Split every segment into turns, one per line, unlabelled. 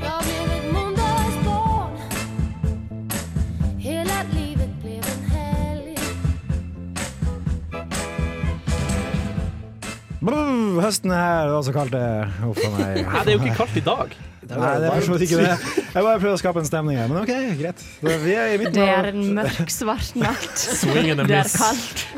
Jag blev ett måndagsbarn Hela livet blev en helg
Brr, høsten er her, det var så kaldt det. Uff a meg.
Nei, det er jo ikke kaldt i dag.
Nei, det er for så vidt ikke det. Jeg bare prøver å skape en stemning her, men OK, greit. Da- Vi er i midten
Det er
av,
en mørk, svart natt.
Swing and a
Det er
miss.
kaldt.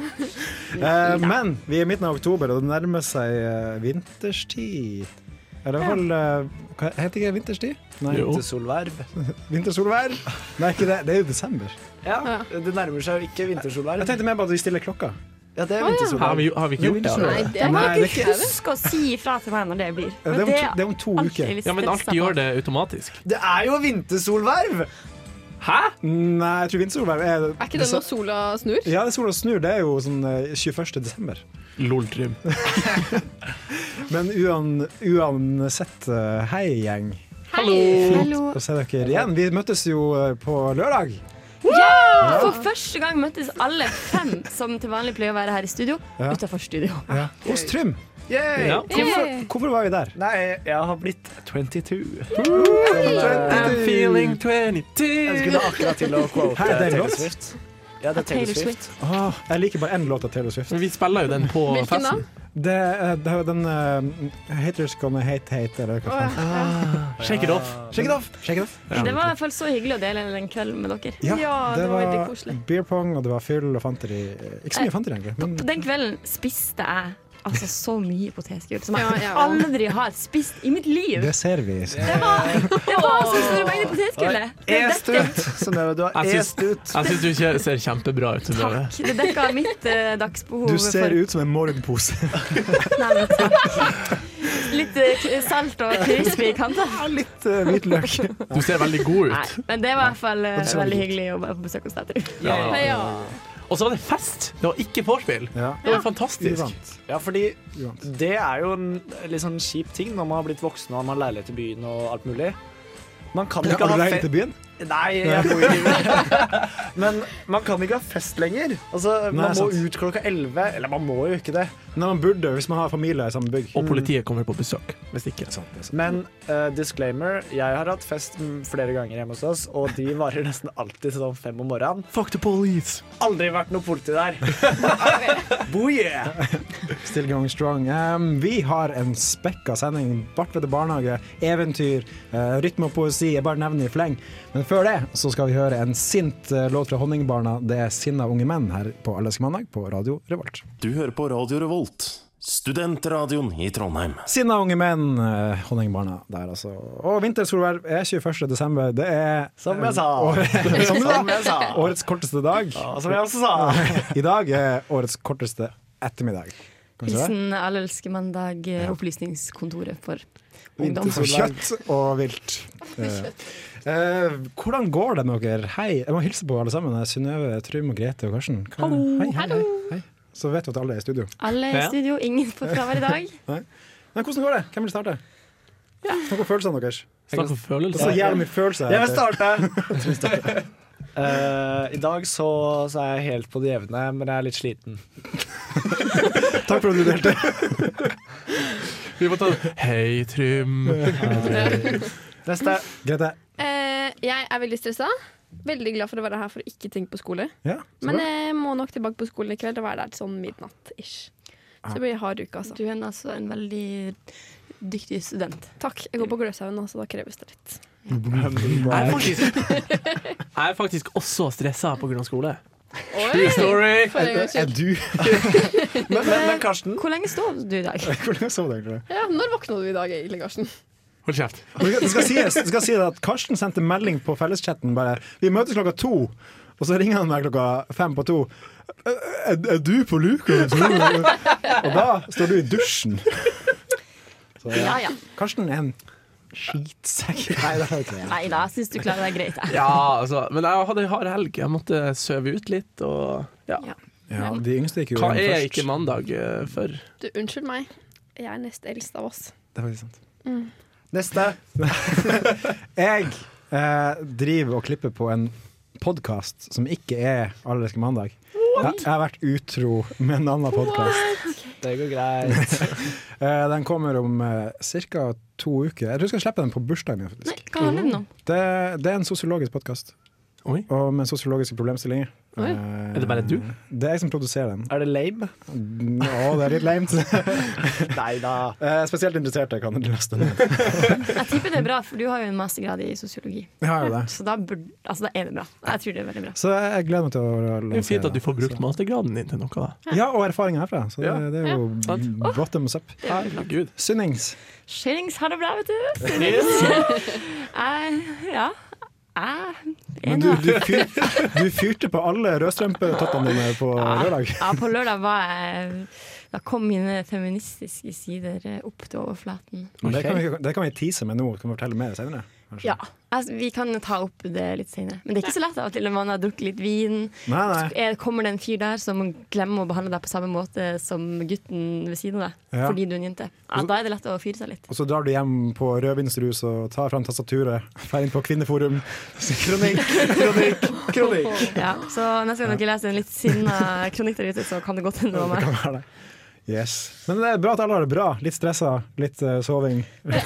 eh, men vi er i midten av oktober, og det nærmer seg eh, vinterstid. Eller i hvert fall eh, hva Heter ikke det vinterstid? Nei.
Jo.
Vintersolverv.
Vintersolvær? Nei, ikke det. Det er jo desember.
Ja, det nærmer seg jo ikke vintersolverv.
Jeg tenkte mer på at vi stiller klokka.
Ja, det er
Har
vintersolverv.
vi, har vi ikke gjort det?
Nei,
Eller?
det
Jeg må
Nei, det er
ikke huske å si ifra til meg når det blir.
Det er om to, det er om to uker.
Ja, men alt gjør det automatisk.
Det er jo vintersolverv!
Hæ?
Nei, jeg tror vintersolvær er
Er ikke det når sola snur?
Ja, det er sola snur. Det er jo sånn eh, 21. desember.
Loltrym.
Men uan, uansett, eh, hei, gjeng.
Hallo.
Hallo.
Da ser dere igjen. Vi møttes jo eh, på lørdag.
Ja! For første gang møttes alle fem som til vanlig pleier å være her i studio,
Ja.
utenfor studio.
Hos Trym.
Yay!
Ja.
Hvorfor, hvorfor var vi der?
Nei, jeg har blitt 22.
I'm
eh,
feeling
Jeg
22.
skulle akkurat til å quote eh,
Hæ, det er en
Taylor
låt?
Swift. Ja, det er
Taylor
Taylor Swift.
Åh, jeg liker bare én låt av Taylor Swift.
Men vi spiller jo den på
Hvilken da?
festen.
Det, eh, det er jo den eh, Haters Gonna Hate Hate, eller hva faen.
Shake it off.
Shake it off! Shake it off.
Det var i hvert fall så hyggelig å dele den kvelden med dere.
Ja,
Ja, det var veldig koselig.
beer pong, og det var fyll og fanteri. Eh, Ikke så mye fanteri, egentlig. Men
På den kvelden spiste jeg altså så mye potetgull som
Ja,
jeg
jeg også.
aldri har spist i mitt liv.
det ser vi.
Det var, det var som å snurre beina i potetgullet. Det er dette-
E-stut! Synnøve, du har
Jeg syns-
e-stut.
Jeg syns du ikke ser kjempebra ut. Synnøve.
Takk. Det dekka mitt eh, dagsbehov.
Du ser
for-
ut som en morgenpose.
Nei, men takk. Litt eh, salt og crispy i kanten.
Litt eh, hvitløk.
Du ser veldig god
Nei,
ut.
men det var i hvert fall eh,
Det ser
veldig
godt.
hyggelig å være på besøk hos deg. Trym.
Ja.
Ja.
Og så var det fest! Det var ikke vorspiel.
Ja.
Det var fantastisk.
Uvant.
Ja, fordi
Uvant.
det er jo en litt sånn kjip ting når man har blitt voksen og har man leilighet i byen og alt mulig. Man kan
Har
ikke
du
ha
regnet
fe-
til byen?
Nei, jeg bor i livet. Men man kan ikke ha fest lenger. Altså,
Nei,
Man må
sant.
ut klokka elleve. Eller man må jo ikke det.
Nei, man burde, hvis man har familie i samme Sånn, bygg.
Og politiet kommer på besøk. Hvis ikke.
Men eh, disclaimer, jeg har hatt fest mm, flere ganger hjemme hos oss, og de varer nesten alltid sånn fem om morgenen.
Fuck the police!
Aldri vært noe politi der. Boje!
Still going strong. Um, vi har en spekka sending. Bartvete barnehage, eventyr, eh, rytme og poesi. Jeg bare nevner i fleng. Men før det så skal vi høre en sint eh, låt fra Honningbarna. Det er 'Sinna unge menn' her på Alle elsker mandag på Radio Revolt.
Du hører på Radio Revolt, studentradioen i Trondheim.
Sinna unge menn, eh, Honningbarna der altså. Og vintersolverv er 21. desember. Det er
Som jeg sa.
Året- som du sa. altså.
Som jeg sa.
Årets korteste dag.
Og som jeg også sa.
I dag er årets korteste ettermiddag. Kan vi si det?
Hilsen Allelskemandag, eh, opplysningskontoret for ungdom.
Vinter, kjøtt og vilt. Eh, eh, hvordan går det med dere? Hei, jeg må hilse på alle sammen. Jeg er Synnøve, Trym og Grete og Karsten. Hva- Hei, hei, hei, hei. Så vet du at alle er i studio.
Alle i
Ja.
studio, ingen på fravær i dag.
Men hvordan går det? Hvem vil starte? Snakk om følelsene deres.
Snakk om
Det er så
følelser.
jævlig mye følelser.
Jeg vil starte. Eh, I dag så, så er jeg helt på det jevne, men jeg er litt sliten.
Takk for at du delte.
Vi må ta Hei, Trym.
Neste.
Grete.
Eh, jeg er veldig stressa. Veldig glad for å være her for å ikke tenke på skole.
Ja, så
Men eh,
bra.
jeg må nok tilbake på skolen i kveld og være der til sånn midnatt-ish. Så det blir hard uke, altså.
Du er en- altså en veldig dyktig student.
Takk. Jeg går på Gløshaugen, så da kreves det litt.
Jeg er faktisk, jeg er faktisk også stressa på grunn av skole. True story!
For en gangs
er
skyld.
du
Men, men, men Karsten,
Hvor lenge står du i dag?
Hvordan sov du egentlig?
Ja, når våkna du i dag, egentlig, Karsten?
Hold kjeft.
Det skal sies, det skal sies at Karsten sendte melding på felleschatten bare Vi møtes klokka to, og så ringer han meg klokka fem på to. Er, er du på luka? Og da står du i dusjen. Så, ja.
Ja ja.
Karsten er en skitsekk. Nei, det er ikke det.
Nei da, jeg syns du klarer deg greit. jeg.
Ja, altså. Men jeg hadde en hard helg. Jeg måtte sove ut litt og ja.
Ja.
Ja, de yngste gikk jo
Hva
hjem
er
først.
ikke mandag eh, for?
Du, unnskyld meg. Jeg er nest eldst av oss.
Det er faktisk sant.
neste.
Jeg eh, driver og klipper på en podkast som ikke er Allerske mandag. Jeg, jeg har vært utro med en annen podkast.
Det går greit.
Eh, Den kommer om ca. to uker. Jeg tror jeg skal slippe den på bursdagen min.
Nei,
faktisk.
hva handler den om?
Det, det er en sosiologisk podkast.
Oi.
Og med sosiologiske problemstillinger.
Oi.
Eh,
Er det bare du?
Det er jeg som produserer den.
Er det lame?
Å, det er litt lame.
Nei da.
Eh, spesielt interesserte kan laste ned.
Jeg tipper det er bra, for du har jo en mastergrad i sosiologi.
Jeg har jo det.
Så da, burde, altså, da er det bra. Jeg tror det er veldig bra.
Så jeg jeg gleder meg til å
Det er jo fint at du får brukt
Så-
mastergraden din til noe. da.
Ja, og erfaringer herfra. Så det,
Ja.
det er jo bottoms up.
Herregud.
Synnings.
Skjellings har det bra, vet du. Jeg, ja. Jeg er
Men
en
du,
av
du, fyr, du fyrte på alle rødstrømpetottene dine på lørdag.
Ja, på lørdag var jeg Da kom mine feministiske sider eh, opp til overflaten.
Det kan, vi, det kan vi tease med nå, kan vi fortelle mer senere. kanskje?
Ja. Altså, vi kan ta opp det litt senere. Men det er ikke så lett av og til når man har drukket litt vin.
Nei, nei.
Er, kommer det en fyr der som glemmer å behandle deg på samme måte som gutten ved siden av deg
Ja.
fordi du er en jente? Ja, da er det lett å fyre seg litt.
Og så drar du hjem på rødvinsrus og tar fram tastaturet, drar inn på Kvinneforum. Kronikk, kronikk, kronikk!
Ja. Så neste gang dere leser en litt sinna kronikk der ute, så kan det godt hende det var
Det
meg.
kan være det. Yes. Men det er bra at alle har det bra. Litt stressa, litt eh, soving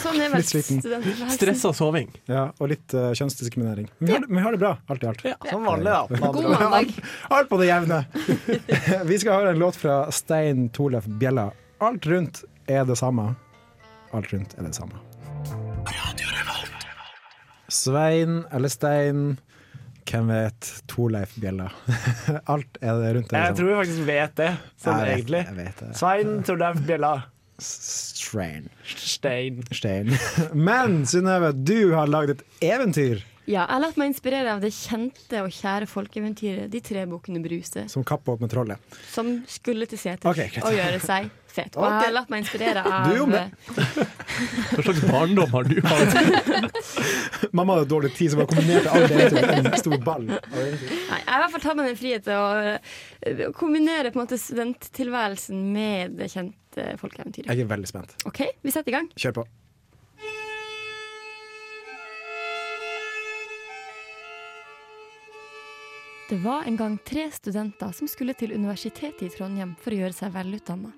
Sånn er vel
Litt sliten.
studenttilværelsen.
Stressa soving.
ja, og litt eh, kjønnsdiskriminering. Men vi har, det- vi har det bra, alt i alt.
Ja.
Som vanlig, da. Med andre
God
ord.
mandag.
Alt på det jevne. Vi skal høre en låt fra Stein Torleif Bjella. Alt rundt er det samme. Alt rundt er det samme. Svein eller Stein, hvem vet? Torleif Bjella. Alt er det rundt er det
Jeg
samme.
tror vi faktisk vet det, sånn
Jeg vet-
egentlig.
Jeg vet det.
Svein Torleif Bjella.
Strain.
Stein.
Stein. Men Synnøve, du har lagd et eventyr
Ja, jeg har latt meg inspirere av det kjente og kjære folkeeventyret De tre bukkene Bruse,
som kapper opp med trollet.
som skulle til seter
Ok, greit.
og gjøre seg fet. Og jeg har latt meg inspirere av eh,
Du gjorde det.
Hva slags barndom har du hatt?
Mamma hadde dårlig tid, så bare kombinerte alle det til en stor ball. av eventyr.
Nei, jeg har i hvert fall tatt meg den frihet til å eh, kombinere på en måte studenttilværelsen med det kjente folkeeventyret.
Jeg er veldig spent.
OK, vi setter i gang.
Kjør på.
Det var en gang tre studenter som skulle til universitetet i Trondheim for å gjøre seg velutdanna.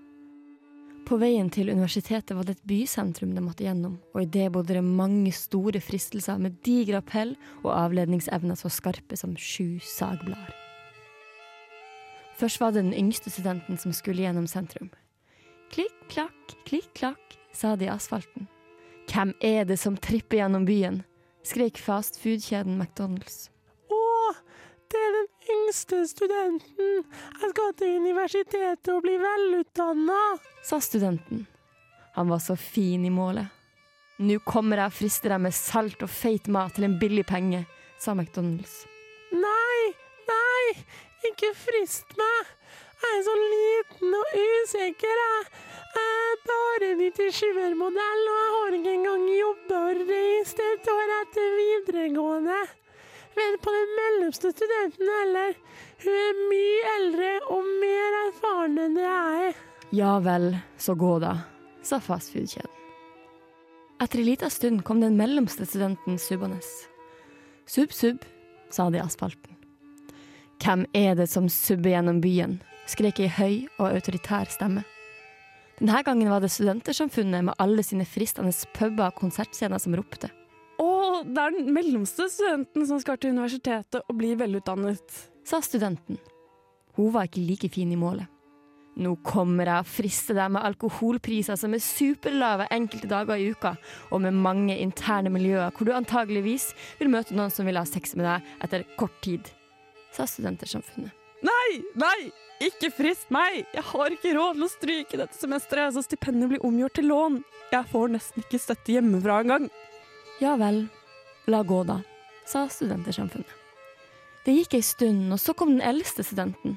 På veien til universitetet var det et bysentrum de måtte gjennom, og i det bodde det mange store fristelser med diger appell og avledningsevner så skarpe som sju sagblader. Først var det den yngste studenten som skulle gjennom sentrum. Klikk, klakk, klikk, klakk, sa de i asfalten. Hvem er det som tripper gjennom byen? skrek fastfood-kjeden McDonald's.
Å, det er den yngste studenten. Jeg skal til universitetet og bli velutdanna.
sa studenten. Han var så fin i målet. Nå kommer jeg og frister deg med salt og feit mat til en billig penge, sa McDonald's.
Nei, nei, ikke frist meg. Jeg er så liten og usikker, jeg. Jeg er bare 97-modell, og jeg har ikke engang jobba og reist et år etter videregående. Vent på den mellomste studenten heller. Hun er mye eldre og mer erfaren enn jeg er.
Ja vel, så gå da, sa fastfood-kjeden. Etter en liten stund kom den mellomste studenten subbende. Sub, sub, sa de i asfalten. Hvem er det som subber gjennom byen? skrek ei høy og autoritær stemme. Denne gangen var det Studentersamfunnet med alle sine fristende puber og konsertscener som ropte.
Og det er den mellomste studenten som skal til universitetet og bli velutdannet.
sa studenten. Hun var ikke like fin i målet. Nå kommer jeg og frister deg med alkoholpriser som er superlave enkelte dager i uka, og med mange interne miljøer hvor du antageligvis vil møte noen som vil ha sex med deg etter kort tid, sa Studentersamfunnet.
Nei, nei, ikke frist meg! Jeg har ikke råd til å stryke dette semesteret, så stipendet blir omgjort til lån. Jeg får nesten ikke støtte hjemmefra engang.
Ja vel, la gå da, sa Studentersamfunnet. Det gikk ei stund, og så kom den eldste studenten.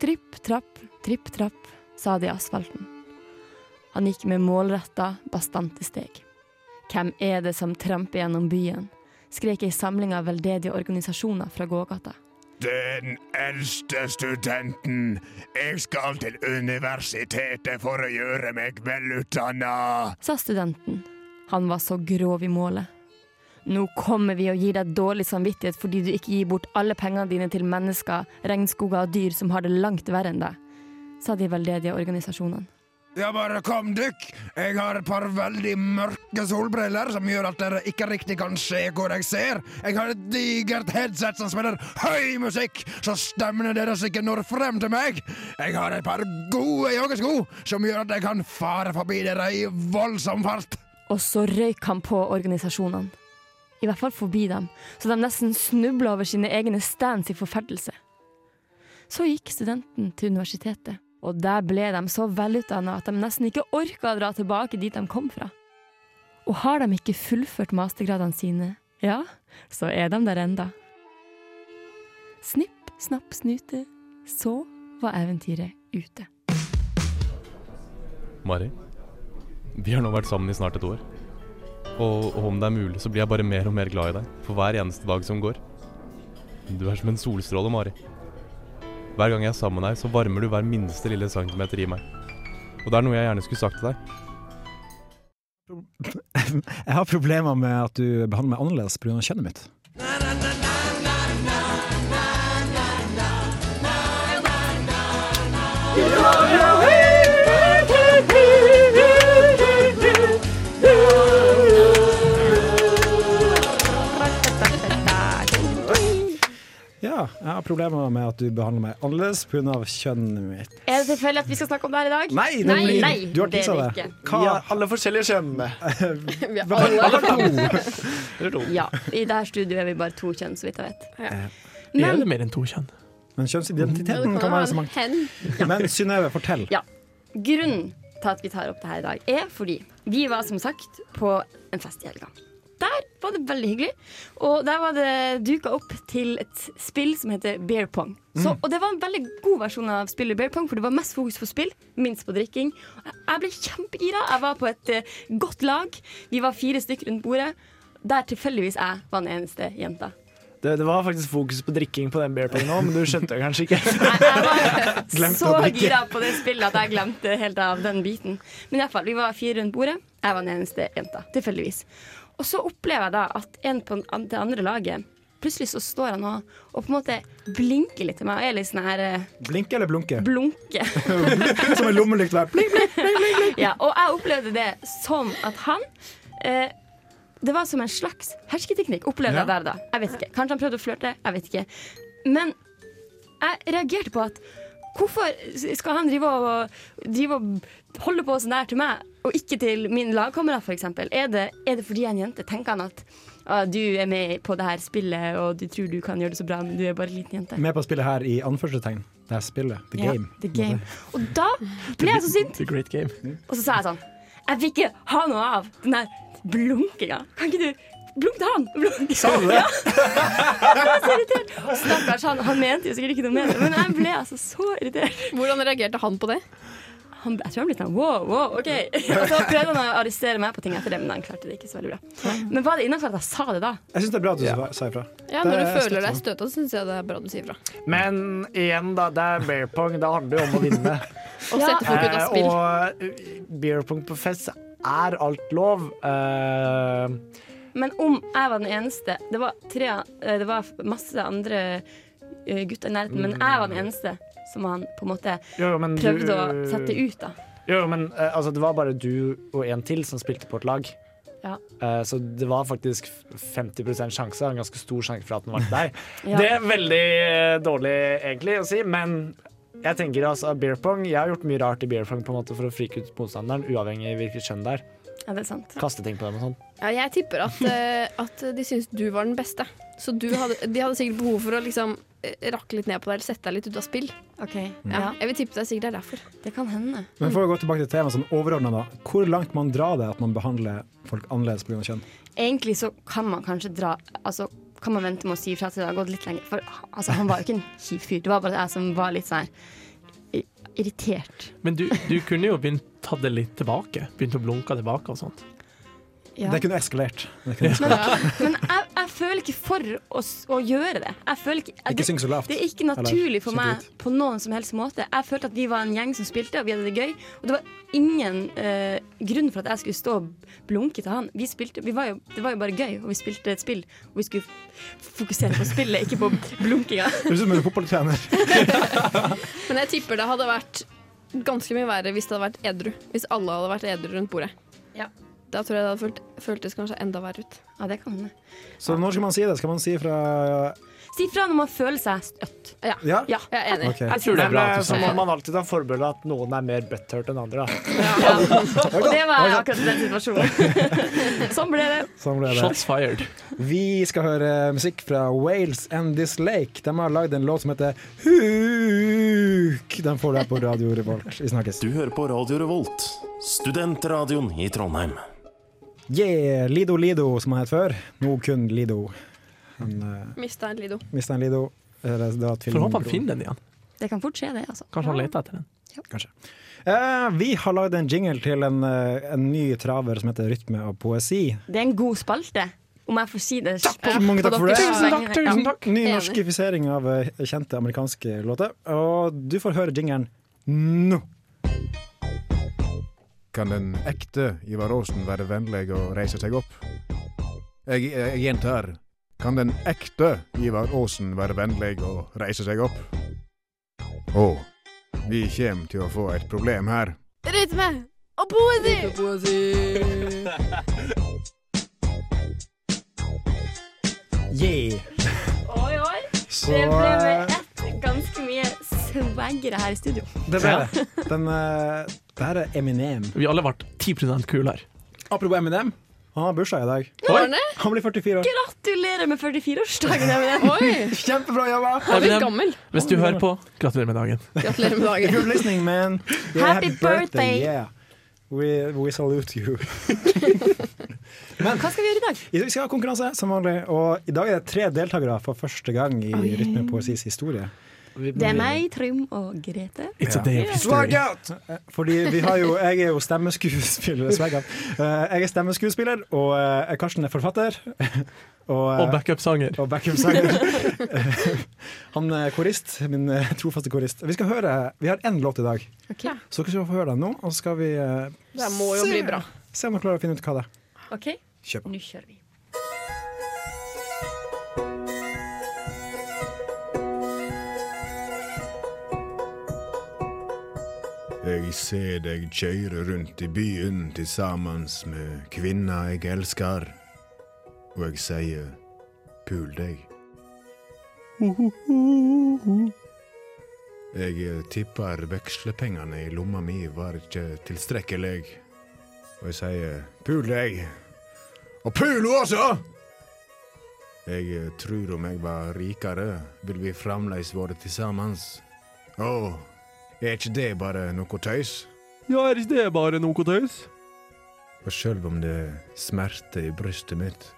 Tripp, trapp, tripp, trapp, sa det i asfalten. Han gikk med målretta, bastante steg. Hvem er det som tramper gjennom byen? skrek ei samling av veldedige organisasjoner fra gågata.
Den eldste studenten. Jeg skal til universitetet for å gjøre meg velutdanna.
sa studenten. Han var så grov i målet. Nå kommer vi og gir deg dårlig samvittighet fordi du ikke gir bort alle pengene dine til mennesker, regnskoger og dyr som har det langt verre enn deg, sa de veldedige organisasjonene.
Ja, bare kom dykk! Jeg har et par veldig mørke solbriller som gjør at dere ikke riktig kan se hvor jeg ser. Jeg har et digert headset som spiller høy musikk, så stemmene deres ikke når frem til meg. Jeg har et par gode joggesko som gjør at jeg kan fare forbi dere i voldsom fart.
Og så røyk han på organisasjonene. I hvert fall forbi dem, så de nesten snubla over sine egne stands i forferdelse. Så gikk studenten til universitetet, og der ble de så velutdanna at de nesten ikke orka å dra tilbake dit de kom fra. Og har de ikke fullført mastergradene sine, ja, så er de der enda. Snipp, snapp, snute, så var eventyret ute.
Mari, vi har nå vært sammen i snart et år. Og, og om det er mulig, så blir jeg bare mer og mer glad i deg for hver eneste dag som går. Du er som en solstråle, Mari. Hver gang jeg er sammen med deg, så varmer du hver minste lille centimeter i meg. Og det er noe jeg gjerne skulle sagt til deg.
Jeg har problemer med at du behandler meg annerledes pga. kjønnet mitt. Ja, jeg har problemer med at du behandler meg annerledes pga. kjønnet mitt.
Er det tilfeldig at vi skal snakke om det her i dag?
Nei, det
Nei,
blir,
nei,
du har
det
tissa
er
det.
det
Hva?
Vi har alle forskjellige kjønn.
Vi er alle
Eller to.
Ja, I dette studioet er vi bare to kjønn, så vidt jeg vet.
Er
Men
det mer enn to kjønn?
Men kjønnsidentiteten
Mm.
kan være så mangt.
hen.
Men Synnøve, fortell.
Ja. grunnen til at vi tar opp det her i dag, er fordi vi var som sagt på en fest i helga. Der var det veldig hyggelig, og der var det duka opp til et spill som heter beer pong. Så, og det var en veldig god versjon av spillet beer pong, for det var mest fokus på spill, minst på drikking. Jeg ble kjempegira. Jeg var på et eh, godt lag. Vi var fire stykker rundt bordet. Der tilfeldigvis jeg var den eneste jenta.
Det, det var faktisk fokus på drikking på den beer pongen nå, men du skjønte det kanskje ikke.
Nei, jeg var
Glemte
så
å drikke.
gira på det spillet at jeg glemte helt av den biten. Men i hvert fall, vi var fire rundt bordet. Jeg var den eneste jenta, tilfeldigvis. Og så opplever jeg da at en på den- det andre laget Plutselig så står han og, og på en måte blinker litt til meg og er litt sånn her eh,
Blinke eller blunke?
blunke.
Som en lommelykt hver. Blink, blink.
Ja, og jeg opplevde det som at han eh, Det var som en slags hersketeknikk, opplevde jeg
Ja.
der da. Jeg vet ikke. Kanskje han prøvde å flørte, jeg vet ikke. Men jeg reagerte på at hvorfor skal han drive og, drive og holde på så nær til meg, og ikke til min lagkamerat, f.eks.? Er, det- er det fordi jeg er en jente? Tenker han at «Ah, du er med på det her spillet, og du tror du kan gjøre det så bra, men du er bare en liten jente?
Med på spillet her i anførselstegn. Det her spillet. The
Ja,
Mm, game.
the game. Og da ble jeg så sint.
The Great Game.
Og så sa jeg sånn Jeg vil ikke ha noe av den der blunkinga. Kan ikke du blunk til han? Blunk. Sa du det? jeg var så irritert. Stakkars, han, han mente jo sikkert ikke noe med det, men jeg ble altså så irritert.
Hvordan reagerte han på det?
Han, jeg tror han ble sånn wow, wow, OK. Og så prøvde han å arrestere meg på ting etter det, men han klarte det ikke så veldig bra. Men var det innafor at jeg sa det da?
Jeg syns det er bra at du sa- sa ifra.
Ja, Når du føler deg støta, syns jeg det er bra du sier fra.
Men igjen, da. Det er beer pong. Det handler jo om å vinne.
Og sette folk ut av
Eh,
spill.
og eh, beer pong på fest er alt lov. Eh,
Men om jeg var den eneste Det var, tre, eh, det var masse andre eh, gutter i nærheten, men jeg var den eneste som han på en måte
jo, men du-
prøvde å sette ut, da.
Jo, men eh, altså, det var bare du og en til som spilte på et lag.
Ja.
Eh, så det var faktisk 50 sjanse, en ganske stor sjanse for at den var til deg.
Ja.
Det er veldig eh, dårlig egentlig å si, men jeg tenker altså beer pong Jeg har gjort mye rart i beer pong på en måte for å frike ut motstanderen, uavhengig av hvilket kjønn det er.
Ja, det er sant.
Kaste ting på dem og sånn.
Ja, jeg tipper at, eh, at de syns du var den beste. Så du hadde, de hadde sikkert behov for å liksom eh, rakke litt ned på deg eller sette deg litt ut av spill.
Ok,
Ja.
Mm. ja.
Jeg vil tippe det er sikkert det er derfor.
Det kan hende.
Men for å gå tilbake til temaet sånn overordna, da. Hvor langt man drar det at man behandler folk annerledes pga. kjønn?
Egentlig så kan man kanskje dra Altså, kan man vente med å si ifra til det har gått litt lenger. For altså, han var jo ikke en kjip fyr. Det var bare jeg som var litt sånn her i- irritert.
Men du, du kunne jo begynt tatt det litt tilbake. Begynt å blunke tilbake og sånt.
Ja.
Det kunne eskalert. Det kunne
Men, men jeg, jeg føler ikke for å, s- å gjøre det. Jeg føler ikke, jeg,
Ikke syng så lavt.
Det er ikke naturlig for
Eller,
meg på noen som helst måte. Jeg følte at vi var en gjeng som spilte, og vi hadde det gøy. Og det var ingen eh, grunn for at jeg skulle stå og blunke til han. Vi spilte, vi var jo, det var jo bare gøy, og vi spilte et spill. Og vi skulle f- fokusere på spillet, ikke på blunkinga.
Det høres ut som en fotballtrener.
Men jeg tipper det hadde vært ganske mye verre hvis det hadde vært edru. Hvis alle hadde vært edru rundt bordet.
Ja.
Da tror jeg det hadde følt, føltes kanskje enda verre ut.
Ja, det kan hende.
Så når skal man si det? Skal man si fra
Si fra når man føler seg støtt.
Ja?
Ja.
Jeg er enig.
Ok.
Jeg tror det er
bra
bra Så må man alltid ha forbehold at noen er mer butthurt enn andre. Da.
Og det var akkurat den situasjonen. sånn ble det.
Sånn ble det.
Shots fired.
Vi skal høre musikk fra Wales and This Lake. De har lagd en låt som heter Huk. Den får du her på Radio Revolt. Vi snakkes.
Du hører på Radio Revolt, studentradioen i Trondheim.
Yeah, Lido Lido, som han het før. Nå kun Lido. Han uh,
Mista en Lido.
mista en Lido. Eller da at
Får
filmen
håpe han
dro.
finner den igjen.
Det kan fort skje, det. altså.
Kanskje han leter etter den.
Eh, vi har lagd en jingle til en, eh, en ny traver som heter Rytme og poesi.
Det er en god spalte, om jeg får si det.
for- mange takk for det.
Tusen takk,
Tusen takk. Ny
Enig.
norskifisering av eh, kjente amerikanske låter. Og du får høre jingeren nå.
Kan den ekte Ivar Aasen være vennlig å reise seg opp? Jeg, jeg gjentar. Kan den ekte Ivar Aasen være vennlig å reise seg opp? Å, vi kjem til å få et problem her.
Rytme og poesi.
Yeah!
Oi, oi.
Så
Det ble med
eh,
ett ganske mye swaggere her i studio.
det ble det. Den, eh, det her er Eminem.
Vi alle ble 10 kulere.
Apropos Eminem, han har bursdag i dag. Han blir 44 år.
Gratulerer med 44-årsdagen, Eminem.
Oi!
Kjempebra jobba!
Han
Eminem.
blir gammel.
Hvis du hører på, gratulerer med dagen.
Gratulerer med dagen.
Good listening, man. Yeah,
Happy birthday.
Yeah. We, we salute you. Men
Hva skal vi gjøre i dag?
i dag skal vi ha konkurranse, som vanlig. Og i dag er det tre deltakere for første gang i Rytme og poesis historie.
Det er meg, Trym og Grete.
It's a day of
Swag
history.
out! Eh, Fordi vi har jo, jeg er jo stemmeskuespiller. Swag out. Eh, Jeg er stemmeskuespiller, og eh, Karsten er forfatter. Og, eh,
Og backup-sanger.
og backup-sanger. Eh, Han er korist, min eh, trofaste korist. Vi skal høre, vi har én låt i dag,
Okay.
så dere skal få høre den nå. Og så skal vi eh,
Det her må jo
se-
bli bra.
se om dere klarer å finne ut hva det er.
OK,
Kjør på.
nå kjører vi.
Jeg ser deg kjøre rundt i byen til sammen med kvinna jeg elsker. Og jeg sier pul deg. Jeg eh, tipper vekslepengene i lomma mi var ikke tilstrekkelig. Og jeg sier pul deg. Og pul henne også! Jeg eh, tror om jeg var rikere, ville vi fremdeles vært til sammen. Åh, er ikke det bare noe tøys?
Ja, er ikke det bare noe tøys?
Og sjøl om det smerter i brystet mitt,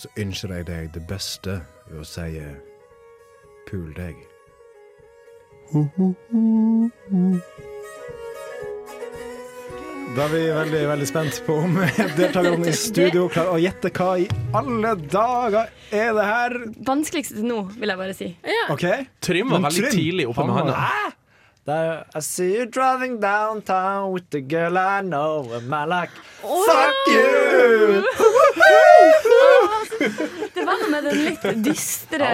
så ønsker jeg deg det beste ved å si pul deg.
Da er vi veldig veldig spent på om deltakerne i studio klarer å gjette hva i alle dager er det her.
Vanskeligste til nå, vil jeg bare si.
OK?
Trym var
Men
veldig
Trym,
tidlig oppe
han
med
var-
handa.
Det er, I see you driving downtown with the girl I know and my like. Fuck you!
altså- Det var noe med den litt dystre,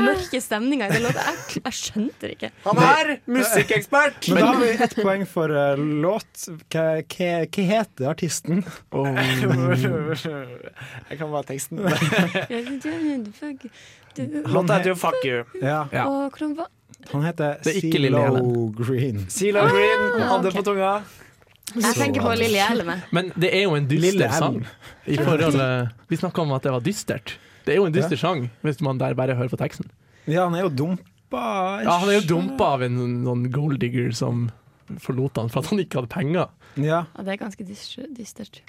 mørke stemninga i den låta. Jeg, jeg skjønte det ikke.
Han er musikkekspert!
Men da har vi ett poeng for eh, låt. Hva, hva, hva heter artisten?
Jeg kan bare teksten.
Han he-
Låta heter jo Fuck you.
ja,
Ja.
Og hvordan var
han heter
Det er ikke Lille
CeeLo Green.
Sila Green,
Ah,
hande
ok.
på tunga.
Jeg tenker på Lille Hjelme.
Men det er jo en
Lille
dyster
Elm.
sang. I forhold, eh, vi snakka om at det var dystert. Det er jo en dyster sang, hvis man der bare hører på teksten.
Ja, han er jo dumpa
Ja, Han er jo dumpa av en sånn gold digger som forlot han for at han ikke hadde penger.
Ja,
Ja, det er ganske dys- dystert.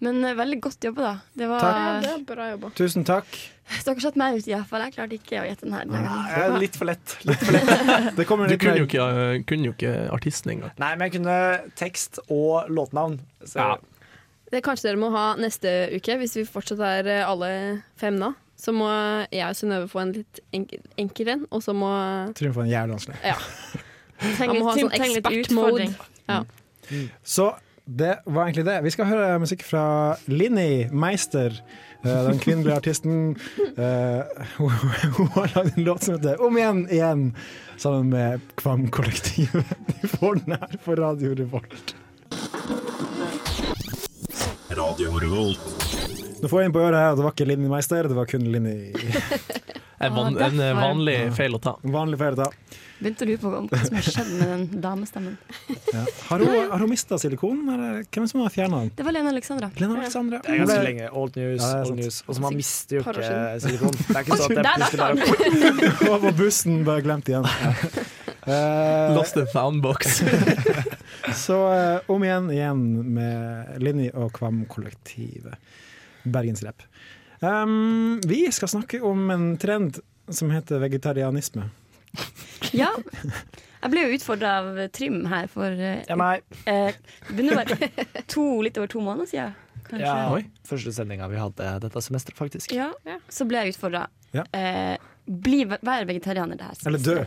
Men eh, veldig godt jobba, da. Det var,
Ja, det er bra jobba.
tusen takk.
Dere satte meg ut, iallfall. Jeg klarte ikke å gjette den her. denne gangen.
Eh, Litt for lett.
Det kommer
Du
litt
kunne jo
mer.
ikke, eh, kunne jo ikke artisten engang.
Nei, men jeg kunne tekst og låtnavn. Så
Ja.
Det kanskje dere må ha neste uke, hvis vi fortsatt er eh, alle fem nå. Så må jeg og Synnøve få en litt enkel, enkel en, og så må
Trym får en jævlig vanskelig.
Ja.
Trenger
Han må ha
litt-
sånn
trenger litt
ekspertmode.
utfordring.
Ja.
Så det var egentlig det. Vi skal høre musikk fra Linni Meister, eh, den kvinnelige artisten. Eh, Hun hun har lagd en låt som heter Om igjen, igjen, sammen med Kvam-kollektivet. Du får den her på Radio Revolt.
Radio Revolt.
Nå får jeg inn på øret her, det var ikke Linni Meister, det var kun Linni.
En, van,
Ah,
en eh,
derfor.
vanlig feil å ta.
Vanlig feil å ta.
Begynte du på hva som har skjedd med den damestemmen?
Ja. Har hun, har hun mista silikonen, eller hvem er det som har fjerna den?
Det var Lene Alexandra.
Lene Alexandra.
Det er ganske lenge. Old news,
Ja, det er
old
sant.
news. Og så man mister jo
Par år
ikke
siden.
silikon. Det er ikke sånn at det
Der,
plutselig
da.
bare
Hun var på bussen, bare glemt igjen. Eh,
Lost and found box.
Så eh, om igjen, igjen med Linni og Kvam-kollektivet. Bergensrep. Um, vi skal snakke om en trend som heter vegetarianisme.
Ja. Jeg ble jo utfordra av Trym her for eh,
Ja, nei.
eh, Det begynner å være to, litt over to måneder siden. Kanskje.
Ja, første sendinga vi hadde dette semesteret, faktisk.
Ja, så ble jeg utfordra.
Ja.
Eh, bli, vær vegetarianer det her.
Eller dø.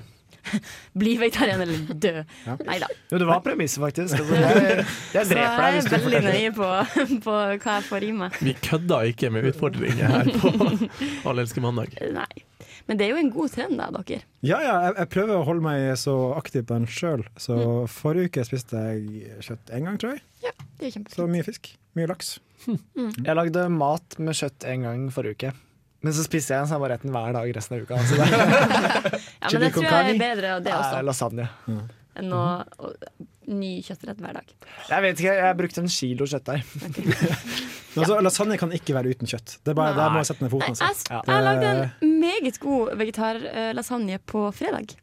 Bli vegetarianer eller dø. Nei da.
Jo, det var premisset, faktisk. Altså, Jeg, jeg
Så
dreper deg
jeg
hvis
er
du
veldig
forteller.
nøye på, på hva jeg får i meg.
Vi kødda ikke med utfordringer her på Allelske mandag.
Nei. Men det er jo en god trend, da, dere.
Ja, ja, jeg, jeg prøver å holde meg så aktiv på den sjøl. Så
Mm.
forrige uke spiste jeg kjøtt én gang, tror jeg.
Det er kjempe...
Så mye fisk. Mye laks.
Jeg lagde mat med kjøtt en gang forrige uke. Men så spiste jeg den samme retten hver dag resten av uka. Så det
Ja, men det tror jeg er bedre av det
Eh,
også,
Lasagne.
enn å, å ny kjøttrett hver dag.
Jeg vet ikke, jeg brukte en kilo kjøttdeig.
Men altså, Lasagne kan ikke være uten kjøtt. Det er bare, der må jeg sette ned
Nei,
foten. altså.
jeg, s- jeg lagde
Eh.
en meget god vegetarlasagne på fredag,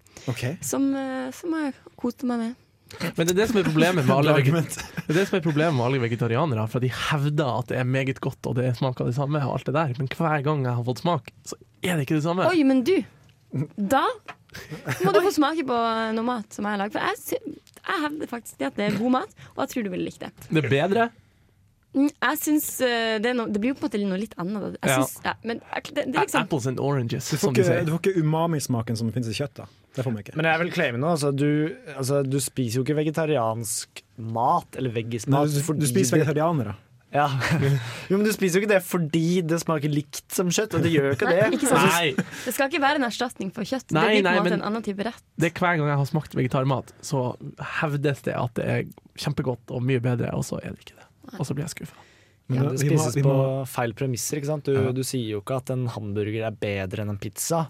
som, eh, som jeg koste meg med.
Men det er det som er problemet med alle, vege- det er det som er problemet med alle vegetarianere. For de hevder at det er meget godt og det smaker det samme, og alt det der. men hver gang jeg har fått smak, så er det ikke det samme.
Oi, men du! Da må du få smake på eh, noe mat som jeg har lagd. For jeg, sy- jeg hevder faktisk det at det er god mat, og jeg tror du ville likt det.
Det er bedre.
Mm, Jeg synes eh, det, er noe- det blir jo på en måte noe litt annet. da. Jeg
Ja.
synes, ja, men jeg- det, det er liksom
Apples and oranges,
Du
som
får
de
ikke,
sier.
du får ikke umamismaken som finnes i kjøtt. da Det får man ikke.
Men jeg vil claime noe. Altså, du, altså, du spiser jo ikke vegetariansk mat eller
Nei,
veggismat.
du, du spiser vegetarianere.
Ja. Jo, men du spiser jo ikke det fordi det smaker likt som kjøtt, og det gjør jo ikke det.
Nei, ikke sant?
Nei.
sånn, Det skal ikke være en erstatning for kjøtt.
Nei,
det blir på
nei,
en måte
men-
en annen type rett.
Det er hver gang jeg har smakt vegetarmat, så hevdes det at det er kjempegodt og mye bedre, og så er det ikke det. Og så blir jeg skuffa.
Men det spises på feil premisser. ikke sant? Du, du sier jo ikke at en hamburger er bedre enn en pizza.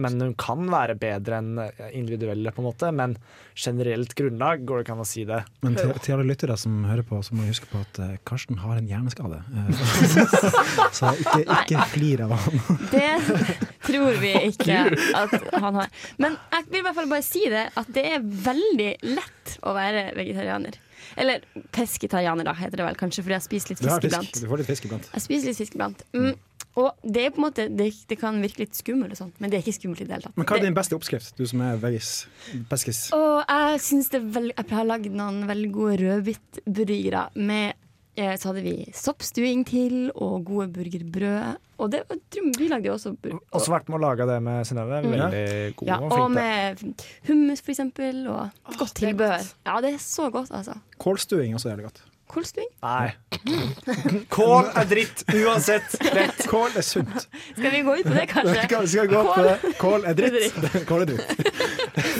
Men hun kan være bedre enn eh, individuelle, på en måte. Men generelt grunnlag går det ikke an å si det.
Men til, til alle lyttere som hører på, så må vi huske på at eh, Karsten har en hjerneskade. Eh, så ikke, ikke flir av han.
Det tror vi ikke at han har. Men jeg vil i hvert fall bare si det, at det er veldig lett å være vegetarianer. Eller pesketarianer, da, heter det vel kanskje, fordi jeg spiser litt
Du, har fisk.
fisk iblant.
du får litt fisk iblant.
Jeg spiser litt fisk iblant. Mm. Og det er på en måte Det, det kan virke litt skummelt, og sånt, men det er ikke skummelt i det hele tatt.
Men hva er
Det-
din beste oppskrift, du som er veggis? Peskis?
Og jeg synes det er vel- Jeg har lagd noen veldig gode rødbitburgere med eh, så hadde vi soppstuing til og gode burgerbrød. Og det, jeg tror vi lagde jo også bur-
Også vært med å lage det med Synnøve.
Mm.
Veldig god
ja,
og
Og
flink. til.
med hummus, for eksempel. Og godt tilbehør. Ja, det er så godt, altså.
Kålstuing også er jævlig godt.
Kolstuing.
Nei. Kål er dritt uansett. Rett.
Kål er sunt.
Skal vi gå ut på det, kanskje?
Skal, skal vi gå på det? Kål er dritt. Kål er dritt.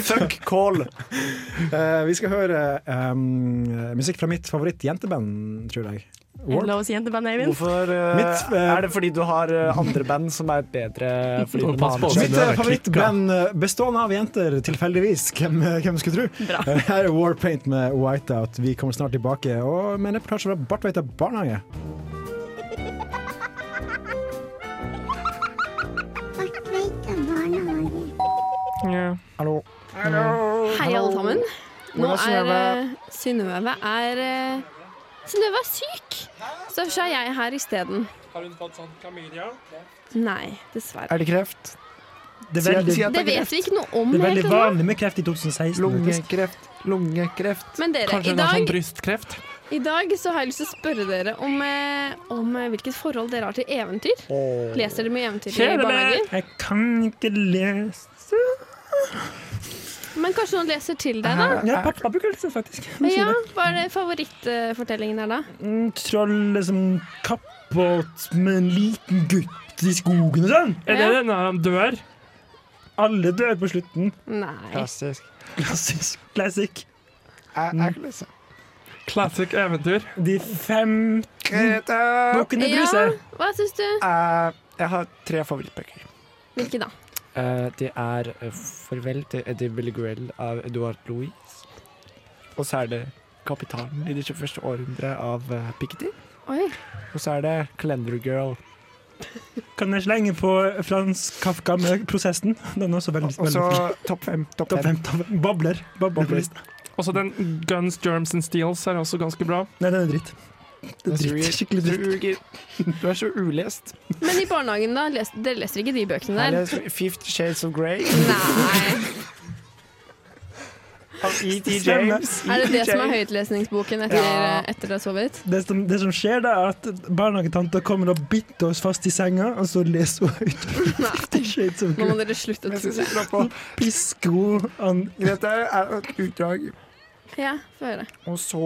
Fuck kål.
Eh, vi skal høre eh, musikk fra mitt favoritt-jenteband, tror jeg.
Er det lov å si jenteband, Eivind?
Hvorfor eh,
Mitt, eh,
Er det fordi du har eh, andre band som er bedre? Fordi
Må
de
passe
har
på
andre-
Mitt eh, favorittband eh, bestående av jenter, tilfeldigvis. Hvem, eh, hvem skulle tro?
Bra.
Eh, Her er Warpaint med Whiteout. Vi kommer snart tilbake og med en reportasje fra Bartveita barnehage. Hallo.
Hei, alle sammen. Nå
Hvordan er
er eh, Synnøve er eh, Synnøve er syk! Så Derfor er jeg her isteden.
Har hun fått sånn klamydia?
Nei, dessverre.
Er det kreft?
Det,
Sier- sier at det er
vet
kreft.
vi ikke noe om helt ennå.
med kreft i 2016.
Lungekreft. Lungekreft.
Men dere,
Kanskje
i
hun har
sånn
dag
sånn brystkreft?
I dag så har jeg lyst til å spørre dere om, eh, om eh, hvilket forhold dere har til eventyr. Leser dere mye eventyr i barnehagen?
Jeg kan ikke lese
Men kanskje noen leser til deg, da?
Ja, pappa bruker å lese, faktisk.
Ja, Hva er det favorittfortellingen der, da?
Trollet som Mm, liksom, kappåt med en liten gutt i skogen og sånn.
Er det Ja. den
når han dør? Alle dør på slutten.
Nei.
Klassisk. Classic.
Mm.
Classic eventyr.
De fem bukkene
Ja,
Bruse.
hva syns du?
Eh, jeg har tre favorittbøker.
Hvilke da?
det er eh, 'Farvel til Eddie Belleguel' av Edouard Louis. Og så er det 'Kapitalen i det 21. århundre' av eh, Piketty.
Oi.
Og så er det 'Calendar Girl'.
Kan jeg slenge på Frans Kafka med prosessen? Den er også veldig
Og så
veldig-
topp fem. Topp
Topp
fem.
fem. Topp fem. Bobler. Bobler på listen.
Også den Guns, Germs and Steels er også ganske bra.
Nei, den er dritt. Det er dritt. Skikkelig
dritt. Du er så ulest.
Men i barnehagen, da? Les, dere leser ikke de bøkene
Her
der?
er Fifth Shades of Grey av
E
E.T.
Stemmer.
James.
Er det det
E.T.
som er høytlesningsboken etter,
Ja.
etter å ha sovet?
Det som, det som skjer, da, er at barnehagetanta kommer og biter oss fast i senga, og så leser hun høyt. Fifty Shades of
Nå må
Grey.
dere slutte å
Jeg
tro
skal si
det.
fra på.
Pisker hun an...
Dette er et utdrag.
Ja, få høre.
Og så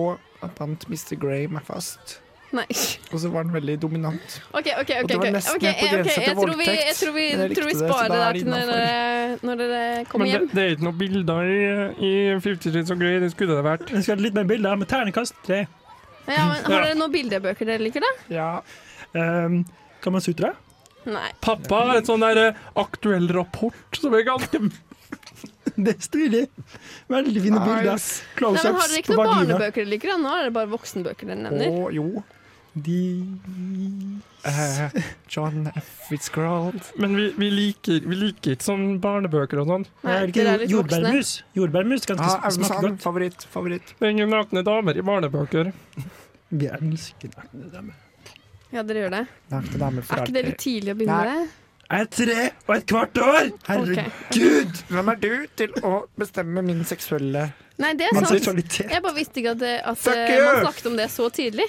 bandt Mr. Grey meg fast.
Nei.
Og så var han veldig dominant.
OK, OK.
Og
ok,
det var
ok,
nesten
ok,
helt på
eh, ok,
grensa til
Jeg tror vi, jeg
voldtekt,
tror vi,
men jeg
tror vi
likte det, så
sparer
da
det
er
der
det
til når dere, når dere kommer
Men
hjem.
det, det er ikke noen bilder i, i Fifty Shades of Grey, det skulle det vært.
Jeg skal ha litt mer bilder, med ternekast tre.
Ja, men Har dere noen bildebøker dere liker, da?
Ja.
Um, kan man sutre?
Nei.
Ehm, Pappa har et sånn der eh, aktuell rapport som er ganske
Det er stilig. Veldig fine bilder.
Nei, men Har
Close-ups
dere ikke
på
noen
vagina.
barnebøker dere liker? da? Nå er det bare voksenbøker dere nevner.
Og jo
De
eh, John Fitzgerald.
Men vi, vi, liker, vi liker ikke sånn barnebøker og sånn.
Nei,
Jeg
dere
liker
er litt
jordbærmus. Jordbærmus kan
Ja, sånn
ikke
Aune
smake
Sand.
godt.
Favoritt. Favoritt.
Det er ingen nakne damer i barnebøker.
Vi elsker nakne damer.
Ja, dere gjør det.
Nakne damer
Er
for
ikke det litt
alltid.
tidlig å begynne med det?
Jeg er tre og et kvart år!
Ok.
Herregud!
Hvem er du til å bestemme min seksuelle
Nei, det er
Min
sant.
seksualitet.
Jeg bare visste ikke at, at
Fuck
eh, man
you!
snakket om det så tidlig.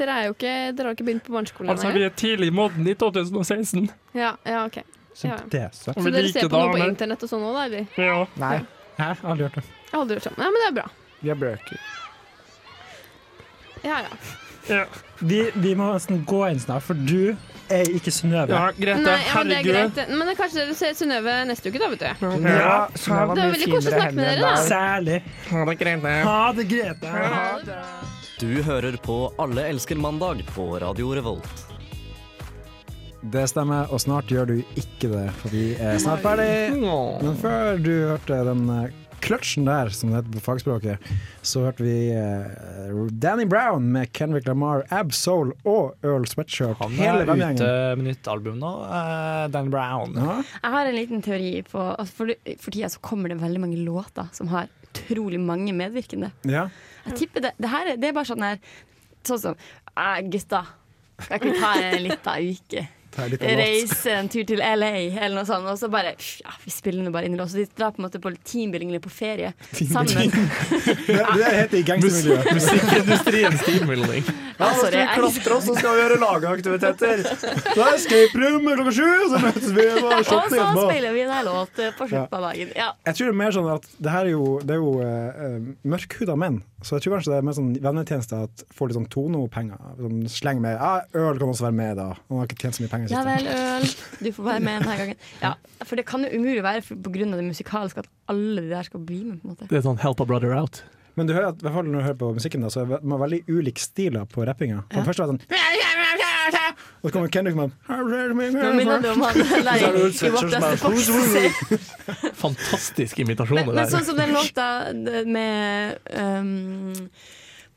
Dere, er jo ikke, dere har ikke begynt på barneskolen
Altså,
ennå?
vi er tidlig i modden i 2016.
Ja, ja, ok. Ja.
Syntese.
Og
Så
vi
dere
liker
ser på noe på
damer.
internett og sånn òg, da? Eller?
Ja.
Nei,
Hæ? Aldri hørt det.
Jeg har aldri gjort sånn. Nei, men det er bra.
vi har bøker.
Ja, ja.
ja.
Vi, vi må nesten gå inn snart, for du er ikke Synnøve.
ja Grete,
Nei, ja, men det er greit.
herregud.
det. Men det er kanskje dere ser Synnøve neste uke, da, vet du.
Ah,
Ja, Synnøve
Det var
har mye
veldig koselig å
finere
snakke med
hender enn
dere, da.
deg.
Særlig.
Ha det, Grete.
Ha det, Grete.
Du hører på Alle elsker mandag på Radio Revolt.
Det stemmer, og snart gjør du ikke det, for vi er snart ferdig. Men før du hørte den eh, kløtsjen der, som det heter på fagspråket, så hørte vi eh, Danny Brown med Kendrick Lamar, Absol og Earl Sweatshirt.
Han
Hele
er ute
vennegjengen.
med nytt album nå, eh, Dan Brown.
Ja.
Jeg har en liten teori på altså for, for tida så kommer det veldig mange låter som har utrolig mange medvirkende.
Ja.
Jeg tipper det, det her er- det er bare sånn her Sånn som «Ah, Gutta, skal ikke vi ta en liten uke?
Ta litt av låt.
Reise en tur til LA, eller noe sånt. Og så bare pff, ja, Vi spiller nå bare inn i lås. Så de drar på en måte på teambuilding eller på ferie sammen.
Det, det heter i gangstermiljøet.
Musikkindustriens teambuilding.
Ja, sorry,
vi
jeg-
klatre oss, så skal vi gjøre lagaktiviteter.
Det er escape room klokka sju, så møtes vi og
Og så
shotter etterpå.
spiller vi en her låt eh, på slutten av dagen. Ja.
Jeg tror det er mer sånn at det her er jo, det er jo eh, mørkhuda menn, så jeg tror kanskje det er mer sånn vennetjeneste at får litt sånn Tono-penger. Sånn sleng med ja, øl kan også være med, da. Han har ikke tjent så mye penger.
Ja
siste.
vel, øl. Du får være med denne gangen. Ja, for det kan jo umulig være for- på grunn av det musikalske at alle de der skal bli med. på en måte
Det er sånn help a brother out.
Men du hører at, i hvert fall når du hører på musikken, da, så er man veldig ulik stiler på rappinga. For det første var det sånn Og så kommer Kendrick med
Nå minner du om han der
Så er det jo
i
et
i What
sweatshirt som
Does
er
The Fox Say?
Fantastisk imitasjon.
Men,
det
men
der.
sånn som den låta eh, med um,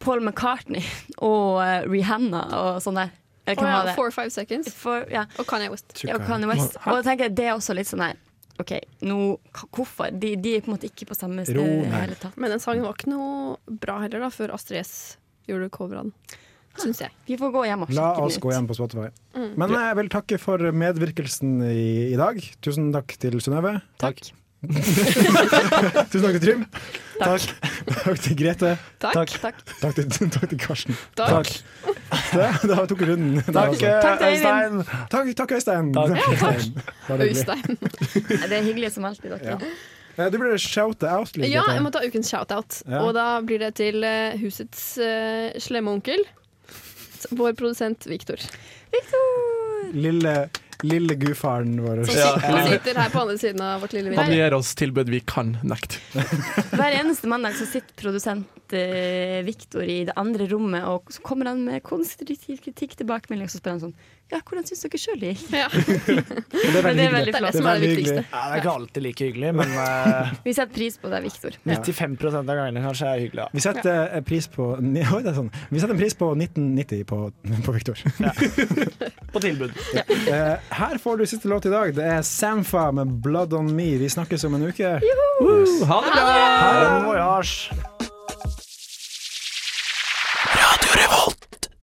Paul McCartney og eh, Rihanna og sånn der. Eller
Og
hvem
ja,
var det?
Four Five Seconds
For, ja.
og Kanye West.
Ja, og Kanye West. Og jeg tenker det er også litt sånn her OK, nå, k- hvorfor? De, de er på en måte ikke på samme sted
Ro
i
ned.
det hele tatt.
Men den sangen var ikke noe bra heller, da, før Astrid S gjorde coveren. Syns jeg.
Vi får gå hjem og
La
sjekke
oss
den
gå
ut.
hjem på Spotify.
Mm.
Men eh, jeg vil takke for medvirkelsen i, i dag. Tusen takk til Synnøve.
Takk.
Tusen takk til Trym. Takk. Takk til Grete.
Takk.
Takk, Takk til, takk til Karsten.
Takk.
Det- Da tok vi runden. der,
Takk,
altså.
eh, Takk til Øyvind.
Takk, takk Øystein. Takk,
Takk. Ja, takk.
Øystein. Det var hyggelig.
Det er hyggelig som alltid, dere.
Eh, Du burde shoute out litt.
Ja,
Grete.
jeg må ta ukens shoutout.
Ja.
Og da blir det til eh, husets eh, slemme onkel. Vår produsent Viktor.
Lille, lille gudfaren vår.
Som sitter, sitter her på andre siden av vårt lille
Han
vindu.
gir oss tilbud vi kan nekte.
Hver eneste mandag så sitter produsent eh, Viktor i det andre rommet, og så kommer han med konstruktiv kritikk tilbakemelding, og så spør han sånn Ja, hvordan syns dere sjøl det gikk?
Det
Men det er veldig flott.
Ja, det er ikke alltid like hyggelig, men eh,
Vi setter pris på deg, Viktor.
95 av gangene kanskje er hyggelig. da.
Vi setter eh, pris på ni- Oi, det er sånn. Vi setter en pris på 1990 på, på Victor.
På tilbud.
Eh, Her får du siste låt i dag. Det er Samfa med 'Blood On Me'. Vi snakkes om en uke.
Woo, Ha det bra!
Ha det.
Bon voyage!